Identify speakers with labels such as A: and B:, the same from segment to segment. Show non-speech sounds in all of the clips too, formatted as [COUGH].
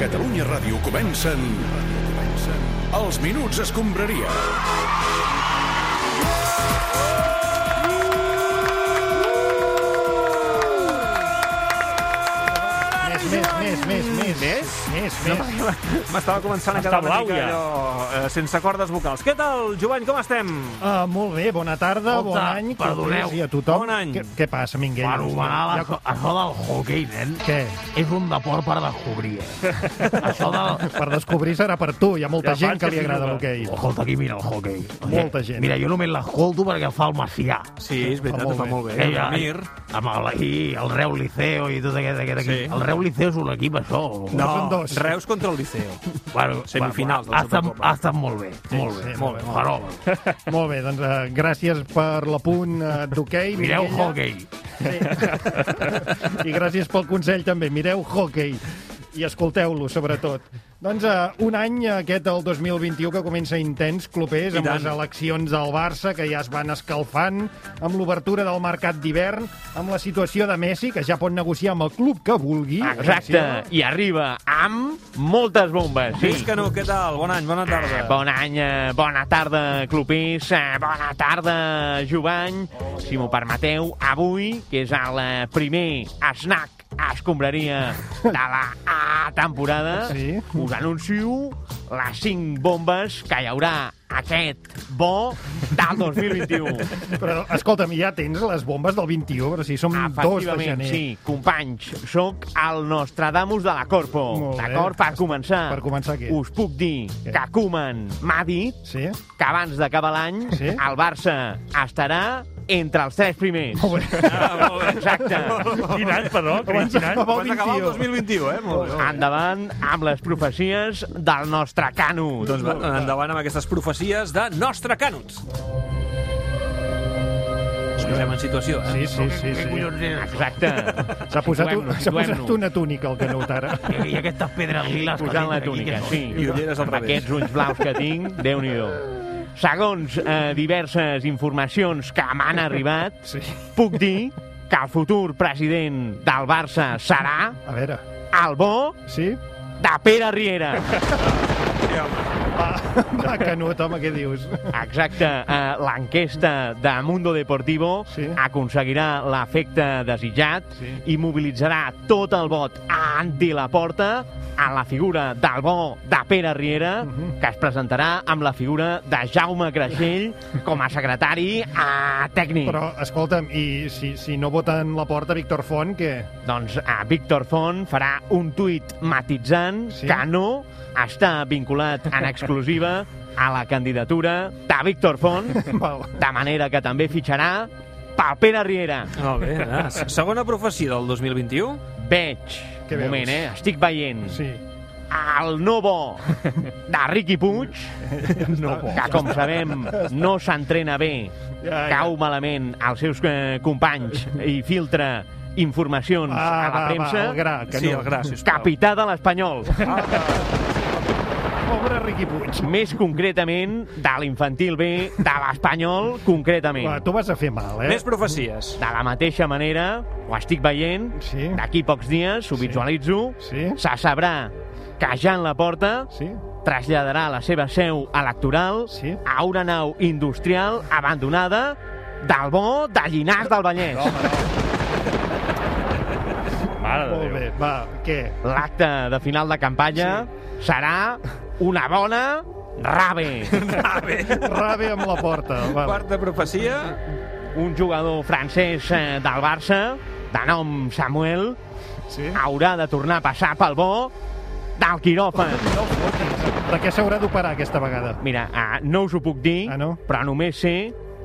A: Catalunya Ràdio comencen... Els Minuts Escombraria.
B: Més, més, més, més, més.
C: Més?
B: Més,
D: No,
B: més.
D: M'estava començant a
E: Està
D: quedar una
E: blau,
D: mica
E: ja.
D: allò, eh, sense cordes vocals. Què tal, Jovany, com estem?
B: Ah, molt bé, bona tarda, bon
C: Escolta,
B: any.
C: perdoneu.
B: I a tothom.
D: Bon any.
B: Què, què passa, Minguell?
C: Per homenar la, això del hockey, nen,
B: Què?
C: és un deport per descobrir, eh?
B: [LAUGHS]
C: això del...
B: Per descobrir serà per tu. Hi ha molta
E: Ja fa
B: gent
E: anys
B: que
E: que
B: li
E: s'hi
B: agrada
E: juga.
B: l'hoquei.
C: Escolta, aquí mira el hockey.
B: Molta gent.
C: Mira, jo només l'escolto perquè el fa el Macià.
D: Sí, és
B: veritat, ho fa molt
C: Eh, ja, Amb el, i el Reu Liceo i tot aquest, aquest equip.
D: Sí.
C: El Reu Liceo és un equip, això.
D: No,
B: Són dos.
D: Reus contra el Liceo.
C: Bueno,
D: Semifinals
C: bueno, ha,
D: del
C: estat,
D: Supercopa.
C: ha estat molt bé, molt bé.
B: sí,
C: molt bé. Però,
B: [LAUGHS] Molt bé, doncs uh, gràcies per l'apunt uh, d'hoquei.
C: [LAUGHS] mireu
B: Minguella.
C: hockey.
B: Sí. [LAUGHS] I gràcies pel consell també. Mireu hockey i escolteu-lo, sobretot. Doncs uh, un any eh, aquest, el 2021, que comença intens, clopers,
D: I
B: amb
D: tant.
B: les eleccions del Barça, que ja es van escalfant, amb l'obertura del mercat d'hivern, amb la situació de Messi, que ja pot negociar amb el club que vulgui.
E: Exacte, i arriba amb moltes bombes.
D: Sí.
E: Sí.
D: que no, què tal? Bon any, bona tarda.
E: Eh, Bon any, eh, bona tarda, clubers, eh, bona tarda, Jovany. Si m'ho permeteu, avui, que és el eh, primer snack a escombraria de la ah, temporada,
B: Sí.
E: us anuncio les 5 bombes que hi haurà aquest bo del 2021.
B: Però, escolta'm, ja tens les bombes del 21, però si som 2 de
E: Efectivament,
B: gener.
E: sí, companys, sóc el Nostradamus de la Corpo.
B: Molt bé.
E: D'acord? Per començar,
B: Per començar, què?
E: us puc dir
B: Què?
E: que Koeman m'ha dit
B: Sí?
E: que abans d'acabar l'any
B: Sí?
E: el Barça estarà entre els tres primers.
B: Molt bé.
D: Ah, molt bé.
E: Exacte.
B: Quin any, perdó? Quin any?
D: Abans d'acabar el 2021, eh? Molt bé.
E: Endavant amb les profecies del nostre Canut.
D: Doncs va, endavant amb aquestes profecies de Nostre Canuts. Ens posem en situació, eh?
B: Sí, sí, sí.
C: Què
B: sí.
C: collons és això?
E: Exacte.
B: S'ha posat, un,
E: Situem-nos,
B: s'ha posat
E: situem-nos.
B: una túnica, el Canut, ara.
C: I, I aquestes pedres liles que
E: Posant
C: tens
E: la
C: aquí,
E: túnica,
C: que
E: sí.
D: I ulleres al
E: Amb
D: revés.
E: aquests ulls blaus que tinc, déu nhi Segons eh, diverses informacions que m'han arribat,
B: Sí.
E: puc dir que el futur president del Barça serà
B: A veure,
E: el bo
B: sí?
E: de Pere Riera.
B: Va, va Canut, home, què [LAUGHS] dius?
E: Exacte, eh, l'enquesta de Mundo Deportivo
B: Sí.
E: sí. aconseguirà l'efecte desitjat
B: Sí.
E: sí. i mobilitzarà tot el vot anti la porta a la figura del bo de Pere Riera,
B: Mhm.
E: que es presentarà amb la figura de Jaume Creixell com a secretari a tècnic.
B: Però, escolta'm, i si, si no voten la porta Víctor Font, què?
E: Doncs a Víctor Font farà un tuit matitzant
B: Sí?
E: sí? que no està vinculat en exclusiva a la candidatura de Víctor Font
B: [LAUGHS] Val.
E: De manera que també fitxarà pel Pere Riera.
D: Molt bé,
E: [LAUGHS]
D: ah, segona profecia del 2021.
E: Veig,
B: Què
E: un
B: veus?
E: moment, eh? Estic veient
B: Sí.
E: el no
B: [LAUGHS]
E: bo de Riqui Puig,
B: No,
E: que com sabem no s'entrena bé,
B: Ja, ja.
E: cau malament als seus eh, companys i filtra informacions
B: Va,
E: a la
B: Ah, va,
E: premsa.
B: va, el gra, que
D: Sí,
B: no. Ah,
D: el gra, sisplau.
E: Capità de l'Espanyol,
B: Pobre Riqui Puig.
E: més concretament de l'infantil B de l'Espanyol, concretament.
B: Va, tu vas a fer mal, eh?
D: Més profecies.
E: De la mateixa manera, ho estic veient,
B: Sí.
E: d'aquí pocs dies, ho
B: Sí.
E: visualitzo,
B: Sí?
E: se sabrà que Jan Laporta
B: Sí?
E: traslladarà la seva seu electoral
B: Sí.
E: a una nau industrial abandonada del bo de Llinars del Vallès.
D: Mare
B: Molt bé, va, què?
E: L'acte de final de campanya serà una bona rave.
B: Rave amb la porta. Va.
D: Quarta profecia.
E: Un jugador francès eh, del Barça, de nom Samuel,
B: Sí?
E: haurà de tornar a passar pel bo del quiròfan.
B: De què s'haurà d'operar aquesta vegada?
E: Mira, ah, no us ho puc dir,
B: Ah, no?
E: però només sé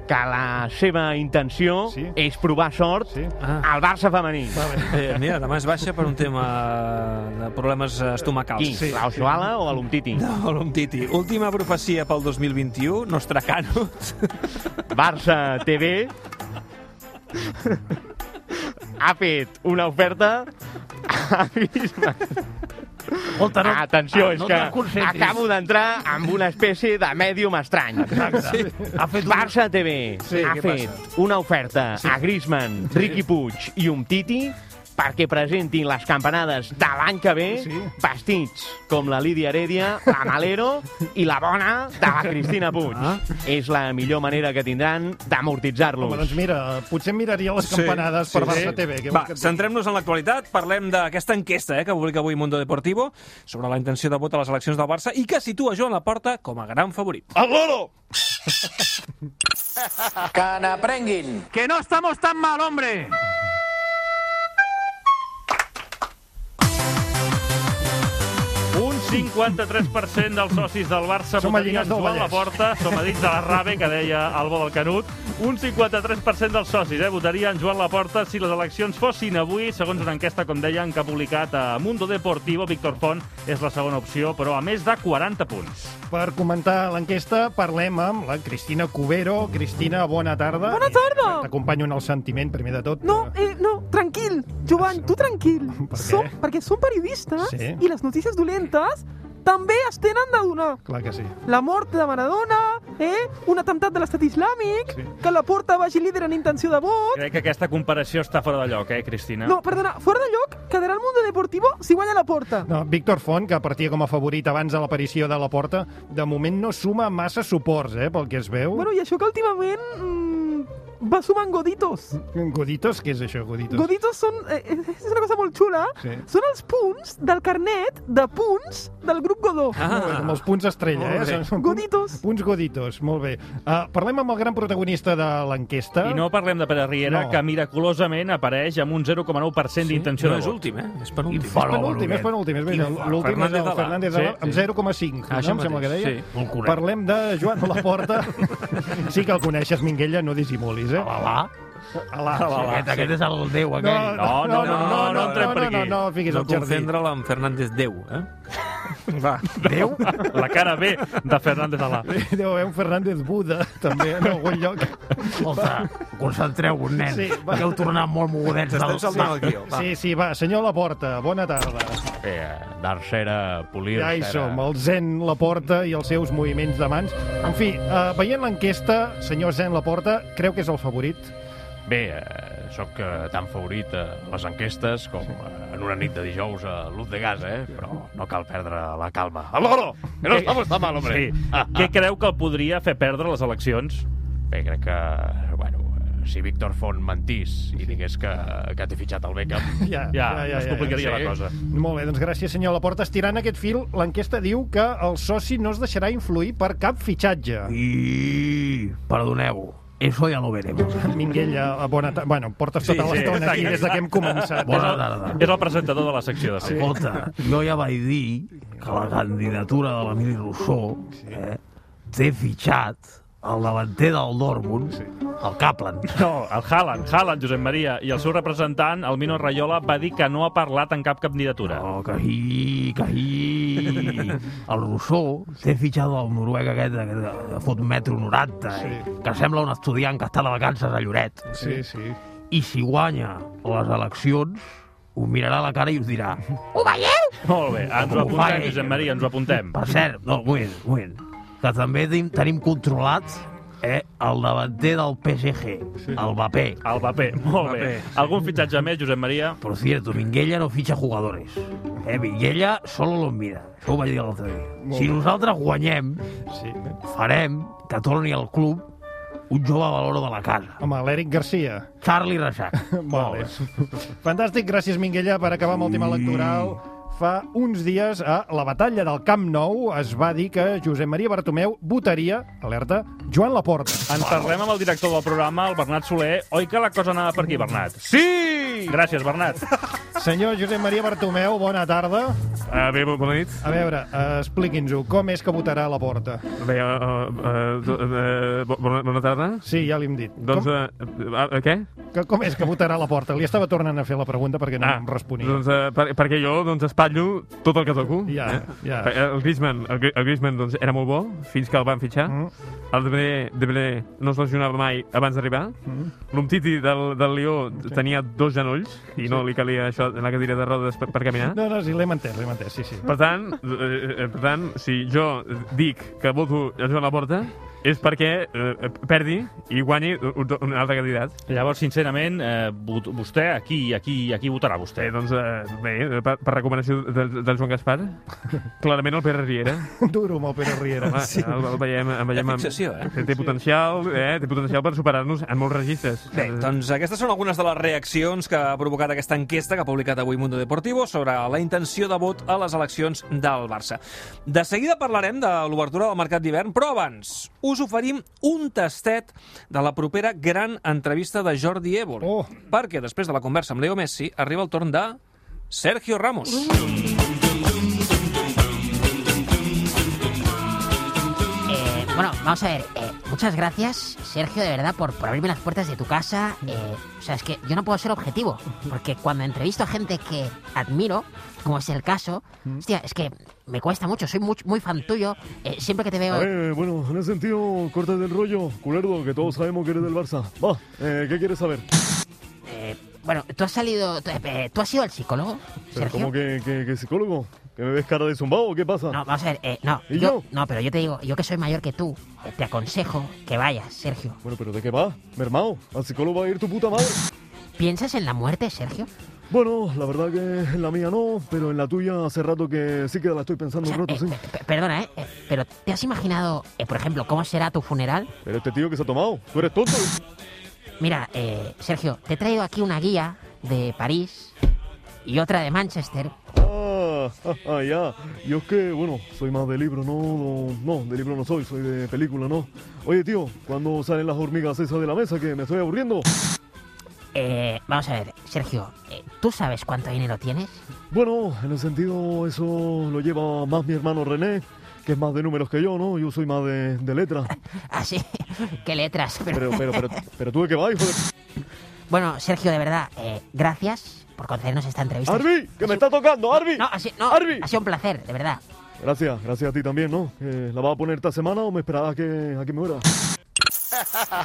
E: que la seva intenció
B: Sí.
E: és provar sort
B: Sí?
D: Ah.
E: al Barça femení.
D: Eh, mira, demà es baixa per un tema de problemes eh, estomacals.
E: Qui? Sí. La Oshoala o a l'Umtiti?
D: No, l'Om Titi. Última profecia pel 2021, Nostre Canut.
E: Barça TV ha fet una oferta a Bismarck.
C: Escolta, no,
E: Atenció,
C: ah,
E: és
C: no te'n
E: que
C: concentris.
E: acabo d'entrar amb una espècie de mèdium estrany.
B: Sí.
C: Ha fet un...
E: Barça TV
B: Sí,
E: ha
B: què
E: fet una oferta a Griezmann, Ricky Puig i Umtiti perquè presentin les campanades de l'any que ve
B: Sí.
E: vestits com la Lídia Heredia, la Malero i la bona de la Cristina Puig.
D: Ah.
E: És la millor manera que tindran d'amortitzar-los.
B: Home, doncs mira, potser miraria les campanades per Barça TV. què
D: Va,
B: vols que et digui?
D: centrem-nos en l'actualitat, parlem d'aquesta enquesta eh, que publica avui Mundo Deportivo sobre la intenció de vot a les eleccions del Barça i que situa Joan Laporta com a gran favorit.
A: El loro!
F: Que n'aprenguin.
C: Que no estamos tan mal, hombre.
G: Un 53% dels socis del Barça
B: Som a
G: votarien
B: Llinars del
G: Joan
B: Vallès.
G: Laporta, som a dins de la rave que deia Alba del Canut. Un 53% dels socis eh, votarien Joan Laporta si les eleccions fossin avui, segons una enquesta, com deien, que ha publicat a Mundo Deportivo. Víctor Font és la segona opció, però a més de 40 punts.
B: Per comentar l'enquesta parlem amb la Cristina Cubero. Cristina, bona tarda. Bona tarda! T'acompanyo en el sentiment, primer de tot.
H: No, eh, no, tranquil,
B: Ah,
H: Joan, tu
B: [LAUGHS]
H: tranquil.
B: Per què?
H: Som, perquè som periodistes
B: Sí.
H: i les notícies dolentes també es tenen de donar.
B: Clar que sí.
H: La mort de Maradona, eh? un atemptat de l'estat islàmic,
B: Sí.
H: que la porta vagi líder en intenció de vot...
G: Crec Eh, que aquesta comparació està fora de lloc, eh, Cristina?
H: No, perdona, fora de lloc, quedarà el Mundo Deportivo si guanya la porta.
B: No, Víctor Font, que partia com a favorit abans de l'aparició de la porta, de moment no suma massa suports, eh, pel que es veu.
H: Bueno, i això que últimament mm, va sumant goditos.
B: Goditos, què és això, Goditos?
H: Goditos són... Eh, eh, és una cosa molt xula.
B: Sí.
H: Són els punts del carnet de punts del grup Godó.
B: Molt bé, com Ah. els punts estrella, eh?
D: Molt bé.
B: Són- Són punts,
H: Goditos.
B: punts goditos, molt bé. Uh, parlem amb el gran protagonista de l'enquesta.
G: I no parlem de Pere Riera,
B: No.
G: no. que miraculosament apareix amb un 0,9% d'intenció
D: no
G: de
D: és
G: vot.
D: últim, eh? És penúltim.
B: És penúltim,
G: eh?
B: és penúltim, és veritat.
D: Infant.
B: L'últim és
D: Fernández
B: el
D: Alà.
B: Fernández
G: Sí,
B: Alà, amb
D: sí.
B: 0,5, no?
D: Això
B: Em sembla que
D: mateix,
B: deia.
D: sí. Molt correcte.
B: Parlem de Joan Laporta. sí que el coneixes, Minguella, no dissimulis, eh?
C: Alà?
B: Alà,
D: Ah,
C: Aquest, aquest és el déu,
B: No,
C: aquell.
B: no,
G: no,
B: no, no, no, no, no,
G: no
B: no,
G: entrem per
B: no, no,
G: aquí.
B: no, fiquis
D: No
B: al jardí.
D: confondre'l amb Fernández Déu, eh?
C: Déu?
G: La cara B de Fernández
C: [LAUGHS]
G: Alà.
B: Deu haver eh, un Fernández Buda, també, en algun lloc.
C: Escolta, concentreu-vos, nen.
B: Sí,
C: Sí,
B: va.
C: Heu tornat molt mogudets. Estem saltant el guió.
B: Sí, sí, va, senyor Laporta, bona tarda.
E: Eh, D'arcera, polir
B: Ja hi som, el Zen Laporta i els seus moviments de mans. En fi, eh, veient l'enquesta, senyor Zen Laporta, creu que és el favorit?
I: Bé, eh, sóc eh, tan favorit a les enquestes com eh, en una nit de dijous a l'Ut de Gas, eh? Però no cal perdre la calma. ¡Al loro! ¡Que no estamos tan mal, hombre!
G: Sí.
D: Ah,
G: Què creu que el podria fer Eh, perdre les eleccions?
I: Bé, crec que, bueno, eh, si Víctor Font mentís i digués que, que t'he fitxat el Beckham...
B: Ja,
G: Ja, es complicaria
I: sí.
G: la cosa.
B: Molt bé, doncs gràcies, senyor Laporta. Estirant aquest fil, l'enquesta diu que el soci no es deixarà influir per cap fitxatge.
C: I... Perdoneu. Eso ya lo veremos.
B: Minguella, bona tarda. Bueno, portes
G: Sí,
B: tota
G: sí,
B: l'estona
G: està
B: aquí
G: aquí.
B: des de que hem començat.
C: Bona tarda.
G: És el presentador de la secció de sí.
C: Escolta, jo ja vaig dir que la candidatura de l'Emili Rousseau eh, té fitxat el davanter del Dortmund, el Kaplan.
G: No, el Haaland, Haaland, Josep Maria, i el seu representant, el Mino Rayola, va dir que no ha parlat en cap candidatura.
C: Oh, que hi, que hi. El Rousseau té fitxat el noruec aquest que que fot metro 90, eh,
B: Sí.
C: que sembla un estudiant que està de vacances a Lloret.
B: Sí, sí.
C: I si guanya les eleccions, ho mirarà a la cara i us dirà Ho veieu?
G: Molt bé, ens ho
C: Com ho fa
G: apuntem,
C: ell?
G: Josep Maria, ens ho apuntem.
C: Per cert, no, un moment, un moment, que també tenim, tenim controlat eh, el davanter del PSG, el Mbappé.
G: El paper, molt bé.
D: Mbappé, sí.
G: Algun fitxatge més, Josep Maria?
C: Por cierto, Minguella no ficha jugadores. Eh, Minguella solo los mira. Això ho vaig dir l'altre dia. Si nosaltres guanyem,
B: sí.
C: farem que torni al club un jove valor de la casa.
B: Home, l'Eric Garcia.
C: Charlie Reixac.
B: Vale. Fantàstic, gràcies Minguella per acabar amb el
J: Mm.
B: tema electoral. Fa uns dies a la batalla del Camp Nou es va dir que Josep Maria Bartomeu votaria, alerta, Joan Laporta.
G: En parlem amb el director del programa, el Bernat Soler. Oi que la cosa anava per aquí, Bernat? Sí! Gràcies, Bernat.
B: Senyor Josep Maria Bartomeu, bona tarda.
J: Uh, bé, bo- bona nit.
B: A veure, eh, expliqui'ns-ho, com és que votarà Laporta?
J: Bé, uh, uh, uh, uh, bona, bona tarda.
B: Sí, ja l'hem dit.
J: Doncs,
B: com,
J: uh, uh, uh, què?
B: que, com és que votarà la porta? Li estava tornant a fer la pregunta perquè no ah, em responia.
J: Doncs, uh, per, perquè jo doncs, espatllo tot el que toco.
B: Ja, ja.
J: Eh, El Griezmann, el, Gri- el Griezmann doncs, era molt bo fins que el van fitxar.
B: Mm.
J: El Dembélé, Dembélé no es lesionava mai abans d'arribar.
B: Mm.
J: L'Umtiti del, del Lió tenia dos genolls i no li calia això en la cadira de rodes per, per caminar.
B: No, no, sí, l'hem entès, l'hem entès, sí, sí.
J: Per tant, eh, eh, per tant, si jo dic que voto a Joan Laporta, és perquè eh, perdi i guanyi un, un altre candidat.
G: Llavors, sincerament, eh, vot- vostè, aquí, aquí, aquí votarà vostè.
J: Eh, doncs, eh, bé, eh, per, per recomanació del, del Joan Gaspar, clarament el Pere Riera.
B: Duro amb el Pere
G: [LAUGHS]
B: Riera.
J: Home, sí. el, el veiem, el veiem amb-
D: fixació, eh?
J: Té, té potencial, eh? Té potencial per superar-nos en molts registres.
D: Bé, doncs aquestes són algunes de les reaccions que ha provocat aquesta enquesta que ha publicat avui Mundo Deportivo sobre la intenció de vot a les eleccions del Barça. De seguida parlarem de l'obertura del mercat d'hivern, però abans us oferim un tastet de la propera gran entrevista de Jordi Évole, oh. perquè després de la conversa amb Leo Messi arriba el torn de Sergio Ramos.
K: Eh, bueno, vamos a ver. eh, muchas gracias, Sergio, de verdad, por, por abrirme las puertas de tu casa.
L: Mm.
K: eh, o sea, es que yo no puedo ser objetivo, porque cuando entrevisto a gente que admiro, como es el caso,
L: Mm.
K: hostia, es que me cuesta mucho. Soy muy, muy fan tuyo. eh, siempre que te veo.
L: Eh, bueno, en ese sentido, cortes del rollo, culerdo, que todos sabemos que eres del Barça. Va, eh, ¿qué quieres saber?
K: eh, bueno, tú has salido. tú- eh, ¿Tú has sido el psicólogo?
L: Pero
K: Sergio?
L: ¿Cómo que, que, que psicólogo? ¿Que me ves cara de zumbado o qué pasa?
K: No, vamos a ver, eh, no.
L: ¿Y
K: yo-
L: yo?
K: No, pero yo te digo, yo que soy mayor que tú, eh, te aconsejo que vayas, Sergio.
L: Bueno, pero ¿de qué va? Mermao, al psicólogo va a ir tu puta madre.
K: ¿Piensas en la muerte, Sergio?
L: Bueno, la verdad que en la mía no, pero en la tuya hace rato que sí que la estoy pensando un rato, sí.
K: P- Perdona, ¿eh? Eh, Pero ¿te has imaginado, eh, por ejemplo, cómo será tu funeral?
L: Pero este tío que se ha tomado, tú eres tonto.
K: Mira, eh, Sergio, te he traído aquí una guía de París y otra de Manchester.
L: Ah, [LAUGHS] ah, ah, ya. Yo es que, bueno, soy más de libro, ¿no? No, de libro no soy, soy de película, ¿no? Oye, tío, ¿cuándo salen las hormigas esas de la mesa que me estoy aburriendo?
K: Eh, vamos a ver, Sergio, eh, ¿tú sabes cuánto dinero tienes? [LAUGHS]
L: Bueno, en el sentido, eso lo lleva más mi hermano René, que es más de números que yo, ¿no? Yo soy más de, de letras.
K: Ah, sí, qué letras.
L: Pero, pero, pero, pero tú de qué vas, hijo de...
K: Bueno, Sergio, de verdad, eh, gracias por concedernos esta entrevista.
L: ¡Arbi! ¡Que me está tocando, Arbi!
K: No, así, no, ha sido un placer, de verdad.
L: Gracias, gracias a ti también, ¿no? Eh, ¿La vas a poner esta semana o me esperarás que, a que me muera?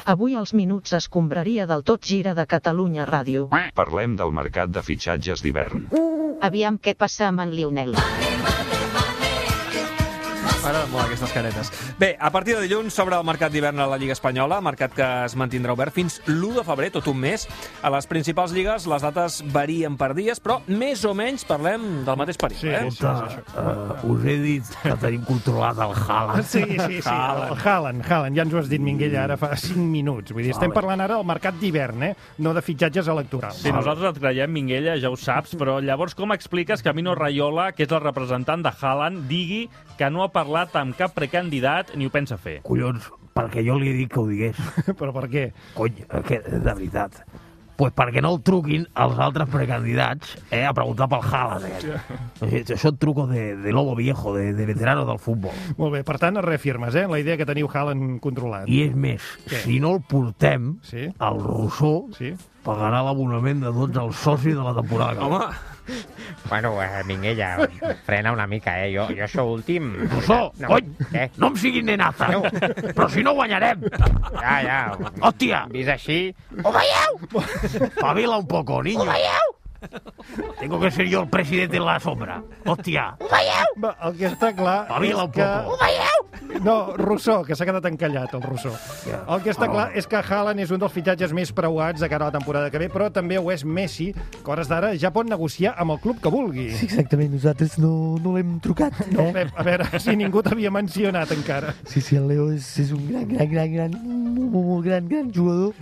M: Avui als minuts escombraria del tot gira de Catalunya Ràdio.
N: Parlem del mercat de fitxatges d'hivern.
M: Aviam què passa amb en Lionel.
D: M'agraden molt aquestes caretes. Bé, a partir de dilluns s'obre el mercat d'hivern a la Lliga Espanyola, mercat que es mantindrà obert fins l'1 de febrer, tot un mes. A les principals lligues les dates varien per dies, però més o menys parlem del mateix període. Sí, eh?
C: Escolta, eh, us he dit que tenim controlat el Haaland.
B: Sí, sí, sí. El Haaland, Haaland, ja ens ho has dit, Minguella, ara fa 5 minuts. Vull dir, estem
G: Haaland.
B: parlant ara del mercat d'hivern, eh? No de fitxatges electorals.
G: Sí, nosaltres et creiem, Minguella, ja ho saps, però llavors com expliques que Mino Raiola, que és el representant de Haaland, digui que no ha parlat amb cap precandidat ni ho pensa fer?
C: Collons, perquè jo li he dit que ho digués.
B: [LAUGHS] Però per què?
C: Cony, eh, que, de veritat. Pues perquè no el truquin els altres precandidats eh, a preguntar pel Haaland. Aquest. O sigui, Són trucos de, de lobo viejo, de, de veterano del futbol.
B: Molt bé, per tant, es reafirmes, eh? en La idea que teniu Haaland controlat.
C: I és més,
B: Què?
C: si no el portem,
B: Sí?
C: el Rousseau
B: sí?
C: pagarà l'abonament de tots els socis de la temporada. que ve.
O: Bueno, eh, Minguella, frena una mica, eh? Jo, jo això últim...
C: Rousseau,
O: No,
C: cony,
O: eh?
C: no em siguin nenaza.
O: No.
C: Però si no guanyarem.
O: Ja, ja.
C: Hòstia!
O: Vist així...
C: ¿Ho veieu? Pavila un poco, niño.
O: Ho veieu?
C: Tengo que ser yo el presidente en la sombra. Hòstia.
B: Va, el que està clar
C: Pavila
B: és
C: un
B: que...
C: poco. Ho
B: veieu? No, Rousseau, que s'ha quedat encallat, el Rousseau. El que està clar és que Haaland és un dels fitxatges més preuats de cara a la temporada que ve, però també ho és Messi, que a hores d'ara ja pot negociar amb el club que vulgui.
P: Sí, exactament, nosaltres no, no l'hem trucat.
B: No, Pep, a veure, si ningú t'havia mencionat encara.
P: Sí, sí, el Leo és, és un gran, gran, gran, gran, molt, molt, molt gran, gran jugador,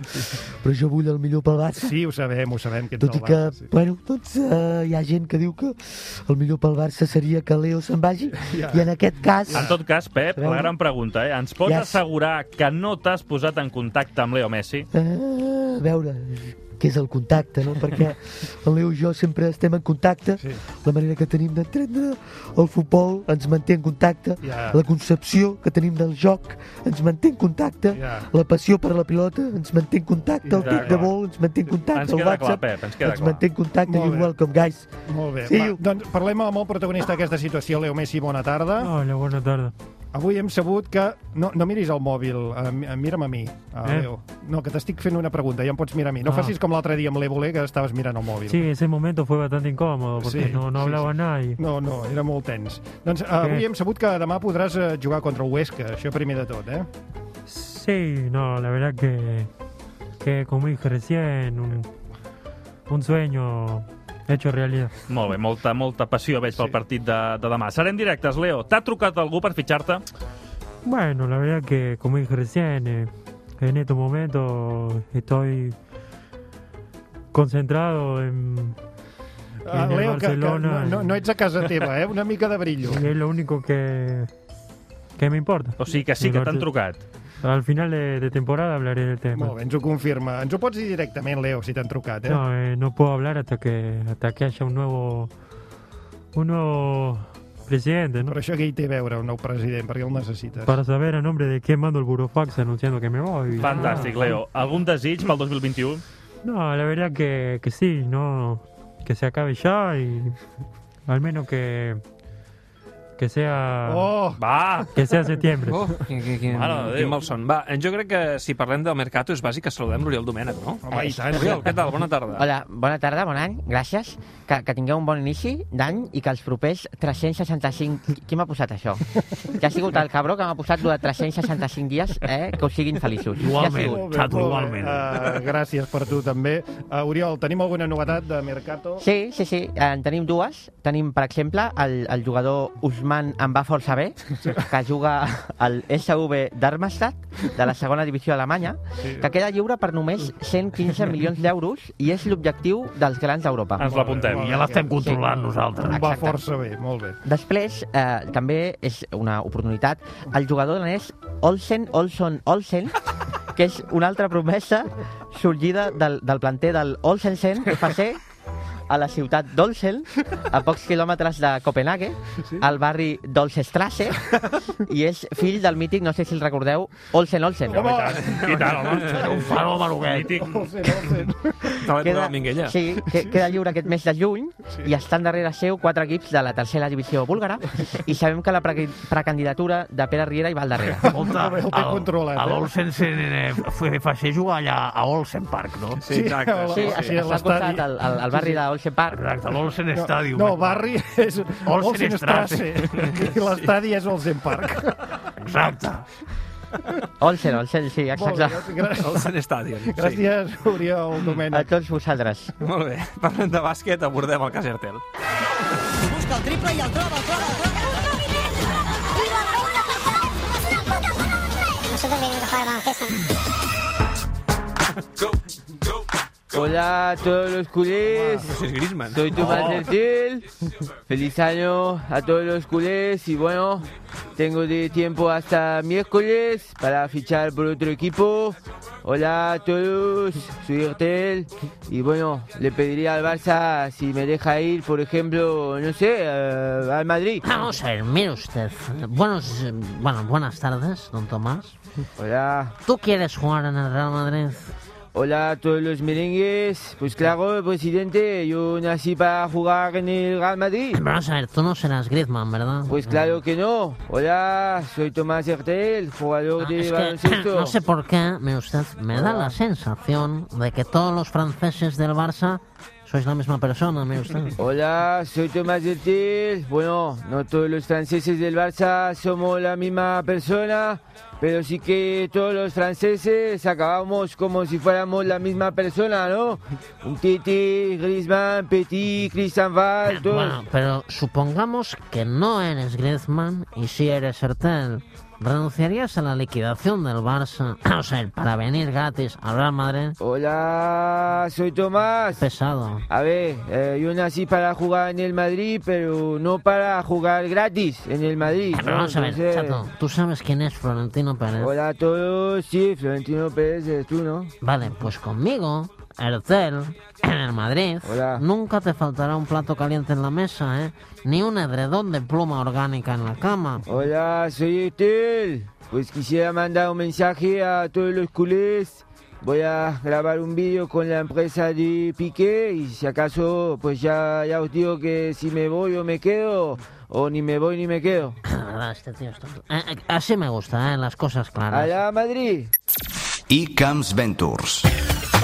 P: però jo vull el millor pel Barça.
B: Sí, ho sabem, ho sabem. Que ets
P: Tot i
B: del
P: que,
B: Barça, sí.
P: bueno, doncs eh, hi ha gent que diu que el millor pel Barça seria que Leo se'n vagi,
G: Ja.
P: i en aquest cas...
G: En tot cas, Pep, la gran pregunta, eh? Ens pots
P: Ja sé.
G: assegurar que no t'has posat en contacte amb Leo Messi?
P: Eh, a veure què és el contacte, no? Perquè el Leo i jo sempre estem en contacte, sí. la manera que tenim d'entendre el futbol ens manté en contacte,
Q: Ja.
P: la concepció que tenim del joc ens manté en contacte,
Q: Ja.
P: la passió per la pilota ens manté en contacte, el
Q: Ja,
P: tic de
Q: clar.
P: vol ens manté en contacte,
Q: Ens
P: el
Q: queda clar,
P: WhatsApp
Q: Pep, ens queda clar.
P: manté en contacte,
B: Molt
P: you're
B: bé.
P: welcome, guys.
B: Molt bé.
P: Sí,
B: Va, doncs parlem amb el protagonista d'aquesta situació, Leo Messi, bona tarda.
Q: Hola, bona tarda.
B: Avui hem sabut que... No, no miris el mòbil, eh, mi- eh, mira'm a mi, eh?
Q: Eh?
B: Leo. No, que t'estic fent una pregunta, ja em pots mirar a mi. No
Q: Ah.
B: facis com l'altre dia amb l'Evole, que estaves mirant el mòbil.
Q: Sí, ese momento fue bastante incómodo porque
B: Sí,
Q: no, no
B: sí,
Q: hablaba
B: sí.
Q: nadie.
B: No, no, era molt tens. Doncs eh, avui
Q: Què?
B: hem sabut que demà podràs eh, jugar contra el Huesca, això primer de tot, eh?
Q: sí, no, la verdad que, que comí recién un, un sueño hecho realidad.
G: Molt bé, molta, molta passió veig pel partit de, de demà. Serem directes, Leo. T'ha trucat algú per fitxar-te?
Q: Bueno, la verdad que como dije recién, eh, en estos momentos estoy concentrado en,
B: Ah,
Q: en el
B: Leo, que, que no,
Q: Barcelona.
B: no, no ets a casa teva, eh? Una mica de brillo.
Q: y es lo único que, que me importa.
G: O sigui que sí
Q: El
G: que t'han
Q: Barce-
G: trucat.
Q: Al final de, de temporada hablaré del tema.
B: Molt bé, ens ho confirma. Ens ho pots dir directament, Leo, si t'han trucat, eh?
Q: No, eh, no puedo hablar hasta que hasta que haya un nuevo un nuevo presidente, ¿no?
B: Però això què hi té a veure, un nou president? Per què el necessites?
Q: Para saber a nombre de quién mando el burofax anunciando que me voy. Ah.
G: Fantàstic, Leo. Algun desig pel 2021?
Q: No, la verdad que, que sí, no que se acabe ya y al menos que que sea
B: Oh!
G: Va!
Q: que sea septiembre.
D: Oh, que, que, que,
G: Mare de
D: quin
G: Déu.
D: malson. Va, eh, jo crec que si parlem del Mercato és bàsic que saludem l'Oriol Domènech, no? Eh,
O: Home, i tant.
D: Oriol, què tal? Bona tarda.
O: Hola, bona tarda, bon any, gràcies. Que, que tingueu un bon inici d'any i que els propers 365... Qui m'ha posat això? Que ha sigut el cabró que m'ha posat durant 365 dies, eh? Que us siguin feliços. Qui ha sigut?
B: Molt bé, molt bé. Uh, gràcies per tu, també. Uh, Oriol, tenim alguna novetat de Mercato?
O: Sí, sí, sí. Eh, En tenim dues. Tenim, per exemple, el, el jugador Usman en va força bé, que juga al SV d'Armstadt, de la segona divisió alemanya,
G: Sí.
O: que queda lliure per només 115 milions d'euros i és l'objectiu dels grans d'Europa.
G: Ens l'apuntem.
C: Ja l'estem controlant
O: Sí.
C: nosaltres.
O: Exacte.
B: Va força bé, molt bé.
O: Després, eh, també és una oportunitat, el jugador danès Olsen, Olson, Olsen, que és una altra promesa sorgida del, del planter del Olsensen FC a la ciutat d'Olsen, a pocs quilòmetres de Copenhague, al barri d'Olsestrasse, i és fill del mític, no sé si el recordeu, Olsen Olsen.
B: Home!
G: I tant, home.
C: Un fenomen, aquest.
G: Mític.
D: Te l'he donat Minguella.
O: Sí, que, queda lliure aquest mes de juny sí. i estan darrere seu quatre equips de la tercera divisió búlgara i sabem que la pre precandidatura de Pere Riera hi va [LAUGHS] al
B: [LAUGHS]
O: darrere.
C: Escolta, el,
O: eh?
C: a l'Olsen se, eh, fe- fa ser jugar allà a Olsen Park, no?
B: Sí, exacte,
O: Sí, sí, sí, està al costat, al, al, al barri d'Olsen Park.
C: Exacte, l'Olsen
B: No,
C: Stadium.
B: no, barri és
C: Olsenstrasse. [LAUGHS]
B: I l'estadi és Olsen Park.
C: Exacte.
O: Olsen, Olsen, sí,
B: Molt
O: exacte.
B: bé, gràcies.
D: Olsen Stadium. sí.
B: Gràcies, Oriol Domènech.
O: A tots vosaltres.
D: Molt bé. [LAUGHS] Parlem de bàsquet, abordem el cas Ertel.
R: Busca el triple i el troba, el troba, el troba. Nosotros venimos a jugar baloncesto.
S: Hola a todos los culés. Soy Tomás
D: Oh.
S: Hertel. Feliz año a todos los culés. Y bueno, tengo de tiempo hasta miércoles para fichar por otro equipo. Hola a todos, soy Hertel. Y bueno, le pediría al Barça si me deja ir, por ejemplo, no sé, eh, al Madrid.
K: Vamos a ver, mire usted. Buenos, eh, bueno, buenas tardes, don Tomás.
S: Hola.
K: ¿Tú quieres jugar en el Real Madrid?
S: Hola a todos los merengues. Pues claro, presidente, yo nací para jugar en el Real Madrid.
K: Vamos a ver, tú no serás Griezmann, ¿verdad?
S: Pues claro que no. Hola, soy Tomás Hertel, jugador de
K: Ah, Es que
S: baloncesto.
K: [CLEARS THROAT] [COUGHS] no sé por qué, mire usted, me da la sensación de que todos los franceses del Barça sois la misma persona, mire usted.
S: Hola, soy Tomás Hertel. Bueno, no todos los franceses del Barça somos la misma persona, pero sí que todos los franceses acabamos como si fuéramos la misma persona, ¿no? Un Titi, Griezmann, Petit, Cristian Val, [LAUGHS] todos.
K: Bueno, pero supongamos que no eres Griezmann y si eres Hertel. ¿Renunciarías a la liquidación del Barça, [COUGHS] o sea, para venir gratis al Real Madrid?
S: Hola, soy Tomás.
K: Pesado.
S: A ver, eh, yo nací para jugar en el Madrid, pero no para jugar gratis en el Madrid.
K: Pero
S: ¿no?
K: vamos a ver,
S: Entonces,
K: chato, tú sabes quién es Florentino Pérez.
S: Hola a todos, sí, Florentino Pérez, eres tú, ¿no?
K: Vale, pues conmigo, Ertel, en el Madrid, nunca te faltará un plato caliente en la mesa, ¿eh? Ni un edredón de pluma orgánica en la cama. Eh,
S: Hola, soy Estel. Pues quisiera mandar un mensaje a todos los culés. Voy a grabar un vídeo con la empresa de Piqué y si acaso, pues ya, ya os digo que si me voy o me quedo, o ni me voy ni me quedo.
K: La verdad, este tío es tonto. Eh, eh, así me gusta, ¿eh? Las cosas claras.
S: Allá, Madrid.
T: I Camps Ventures.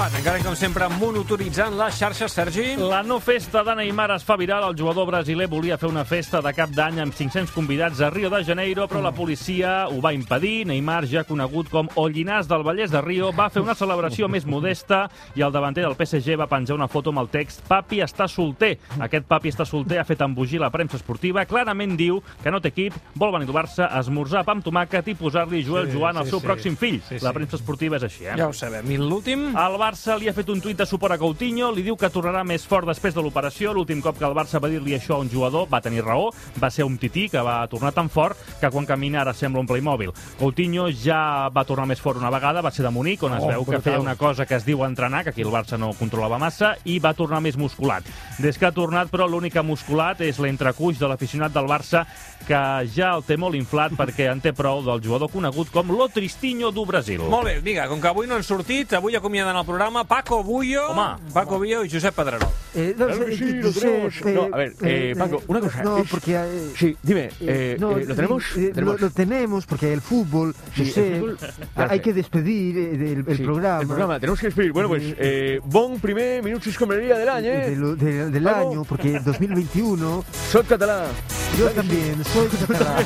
D: Va, tancarem com sempre monitoritzant les xarxes, Sergi.
G: La no festa de Neymar es fa viral. El jugador brasiler volia fer una festa de cap d'any amb 500 convidats a Rio de Janeiro, però la policia ho va impedir. Neymar, ja conegut com Ollinàs del Vallès de Rio, va fer una celebració més modesta i el davanter del PSG va penjar una foto amb el text Papi està solter. Aquest papi està solter ha fet embogir la premsa esportiva. Clarament diu que no té equip, vol venir al Barça, a esmorzar pa amb tomàquet i posar-li Joel
D: Sí,
G: Joan al
D: sí,
G: seu
D: sí.
G: pròxim fill.
D: Sí, sí.
G: La premsa esportiva és així, eh?
D: Ja ho sabem. I l'últim?
G: El Barça li ha fet un tuit de suport a Coutinho, li diu que tornarà més fort després de l'operació. L'últim cop que el Barça va dir-li això a un jugador va tenir raó, va ser un tití que va tornar tan fort que quan camina ara sembla un Playmobil. Coutinho ja va tornar més fort una vegada, va ser de Munic, on es
D: Oh,
G: veu que
D: brutal.
G: feia una cosa que es diu entrenar, que aquí el Barça no controlava massa, i va tornar més musculat. Des que ha tornat, però, l'únic que ha musculat és l'entrecuix de l'aficionat del Barça, que ja el té molt inflat perquè en té prou del jugador conegut com lo Tristinho do Brasil.
D: Molt bé, vinga, com que avui no han sortit, avui acomiaden el programa Paco Bullo, Home. Paco Bullo i Josep Pedrerol.
T: Eh, no, Claro que sí, lo tenemos.
D: eh,
I: No, a ver, eh,
T: eh,
I: Paco, una cosa.
T: no,
I: es-
T: porque, eh,
I: sí, dime,
T: Eh,
I: eh,
T: no,
I: eh, ¿lo tenemos?
T: eh, lo-
I: Tenemos.
T: Lo, tenemos porque el fútbol,
I: Sí, el
T: Josep,
I: fútbol, claro
T: hay
I: que-
T: que despedir eh, del el
I: Sí,
T: programa.
I: El programa, tenemos que despedir. Bueno, pues, eh, bon primer minutos comería del año,
T: de
I: ¿eh?
T: lo- de- del
I: Paco.
T: año, porque
I: [LAUGHS]
T: el 2021...
I: Soy catalán. [LAUGHS]
T: Yo también, soy catalán.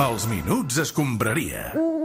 A: Els minuts escombraria.